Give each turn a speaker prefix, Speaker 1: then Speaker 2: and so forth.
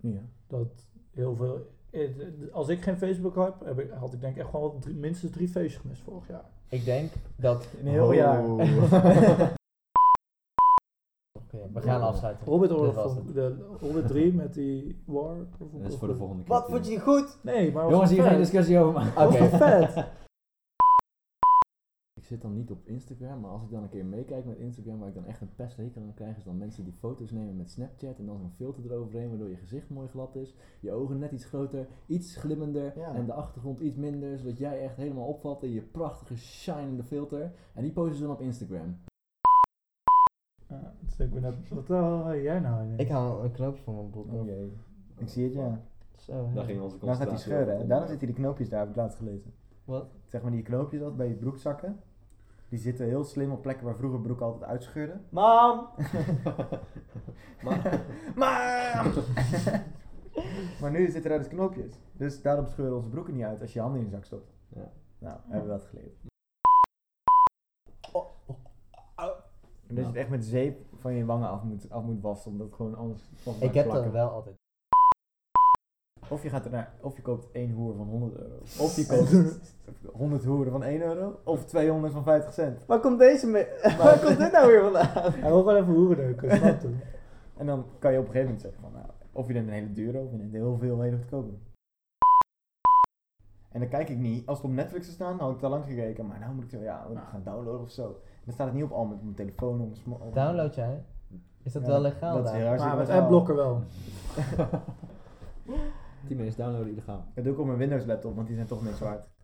Speaker 1: Ja.
Speaker 2: Dat heel veel. eh, Als ik geen Facebook heb, heb ik, had ik denk ik echt gewoon wel drie- minstens drie feestjes gemist vorig jaar.
Speaker 3: Ik denk dat...
Speaker 1: In een heel
Speaker 3: Oh.
Speaker 1: jaar. Oh.
Speaker 3: Oké, we gaan afsluiten.
Speaker 2: Hobbit
Speaker 3: Dit
Speaker 2: Oorlog,
Speaker 3: was
Speaker 2: van-
Speaker 3: het.
Speaker 2: de Hobbit 3 met die war. Of,
Speaker 1: Dat is
Speaker 2: of-
Speaker 1: voor de volgende keer.
Speaker 3: Wat, vond je die goed?
Speaker 2: Nee, maar was
Speaker 1: Jongens,
Speaker 2: wel
Speaker 1: hier geen
Speaker 2: vet.
Speaker 1: discussie over maken.
Speaker 3: Oké.
Speaker 2: Was wel vet.
Speaker 1: Ik zit dan niet op Instagram, maar als ik dan een keer meekijk met Instagram, waar ik dan echt een pesthekel aan krijg, is dan mensen die foto's nemen met Snapchat en dan zo'n filter eroverheen, waardoor je gezicht mooi glad is, je ogen net iets groter, iets glimmender
Speaker 3: Ja.
Speaker 1: en de achtergrond iets minder, zodat jij echt helemaal opvalt in je prachtige, shinende filter. En die posten ze dan op Instagram.
Speaker 2: Ja, dus ik ben net, wat eh, jij nou? ineens?
Speaker 3: Ik haal een knoopje van mijn broek af.
Speaker 4: jee. Ik zie het, ja.
Speaker 3: Zo.
Speaker 1: Daar ging onze
Speaker 4: Dan gaat hij
Speaker 1: concentratie
Speaker 4: scheuren.
Speaker 1: op.
Speaker 4: hè. Daarom zitten die knoopjes daar, heb ik laatst gelezen.
Speaker 3: Wat?
Speaker 4: Zeg maar die knoopjes dat bij je broekzakken. Die zitten heel slim op plekken waar vroeger broek altijd uitscheurde.
Speaker 3: Mam!
Speaker 4: maar... maar nu zitten daar dus knoopjes. Dus daarom scheuren onze broeken niet uit als je je handen in je zak stopt.
Speaker 1: Ja.
Speaker 4: Nou, hebben we dat geleerd.
Speaker 3: Oh.
Speaker 4: Oh. En dat je
Speaker 1: Nou.
Speaker 4: het echt met zeep van je wangen af moet, af moet wassen, omdat het gewoon anders vast
Speaker 3: Ik
Speaker 4: blijft
Speaker 3: heb dat
Speaker 4: plakken.
Speaker 3: wel altijd.
Speaker 4: Of je gaat ernaar, of je koopt één hoer van 100 euro. Of je koopt 100 hoeren van 1 euro, of 200 van 50 cent.
Speaker 3: Waar komt deze mee? Waar komt dit nou weer vandaan?
Speaker 2: Hij wil gewoon even hoeren neuken, snap je?
Speaker 4: En dan kan je op een gegeven moment zeggen van, nou, of je neemt een hele dure of je neemt heel veel hele goedkope. En dan kijk ik niet, als het op Netflix zou staan, had ik daar lang gekeken, maar nou moet ik zo, ja, we gaan downloaden of zo. Dan staat het niet op al met mijn telefoon of mijn sma- of-
Speaker 3: Download jij? Is dat
Speaker 4: Ja,
Speaker 3: wel legaal
Speaker 4: Dat is
Speaker 3: daar?
Speaker 4: heel hartstikke
Speaker 2: Maar met
Speaker 4: legaal.
Speaker 2: adblocker wel.
Speaker 1: Tien mensen downloaden illegaal.
Speaker 4: Dat doe ik op mijn Windows laptop, want die zijn toch niks waard.